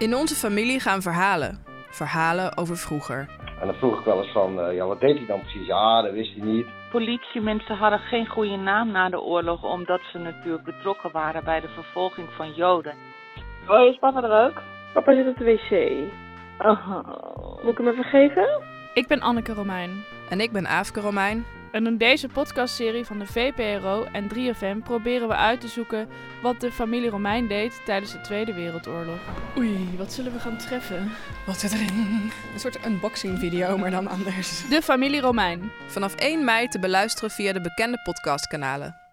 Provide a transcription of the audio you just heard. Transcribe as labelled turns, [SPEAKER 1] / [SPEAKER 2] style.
[SPEAKER 1] In onze familie gaan verhalen. Verhalen over vroeger.
[SPEAKER 2] En dan vroeg ik wel eens van, eh, ja, wat deed hij dan precies? Ja, dat wist hij niet.
[SPEAKER 3] Politiemensen hadden geen goede naam na de oorlog, omdat ze natuurlijk betrokken waren bij de vervolging van Joden.
[SPEAKER 4] Oh, is papa er ook?
[SPEAKER 5] Papa zit op de wc.
[SPEAKER 4] Oh.
[SPEAKER 5] Moet ik hem even geven?
[SPEAKER 6] Ik ben Anneke Romein.
[SPEAKER 1] En ik ben Aafke Romein.
[SPEAKER 6] En in deze podcastserie van de VPRO en 3FM proberen we uit te zoeken wat de familie Romein deed tijdens de Tweede Wereldoorlog. Oei, wat zullen we gaan treffen?
[SPEAKER 7] Wat zit erin? Een soort unboxing video, maar dan anders.
[SPEAKER 6] De familie Romein.
[SPEAKER 1] Vanaf 1 mei te beluisteren via de bekende podcastkanalen.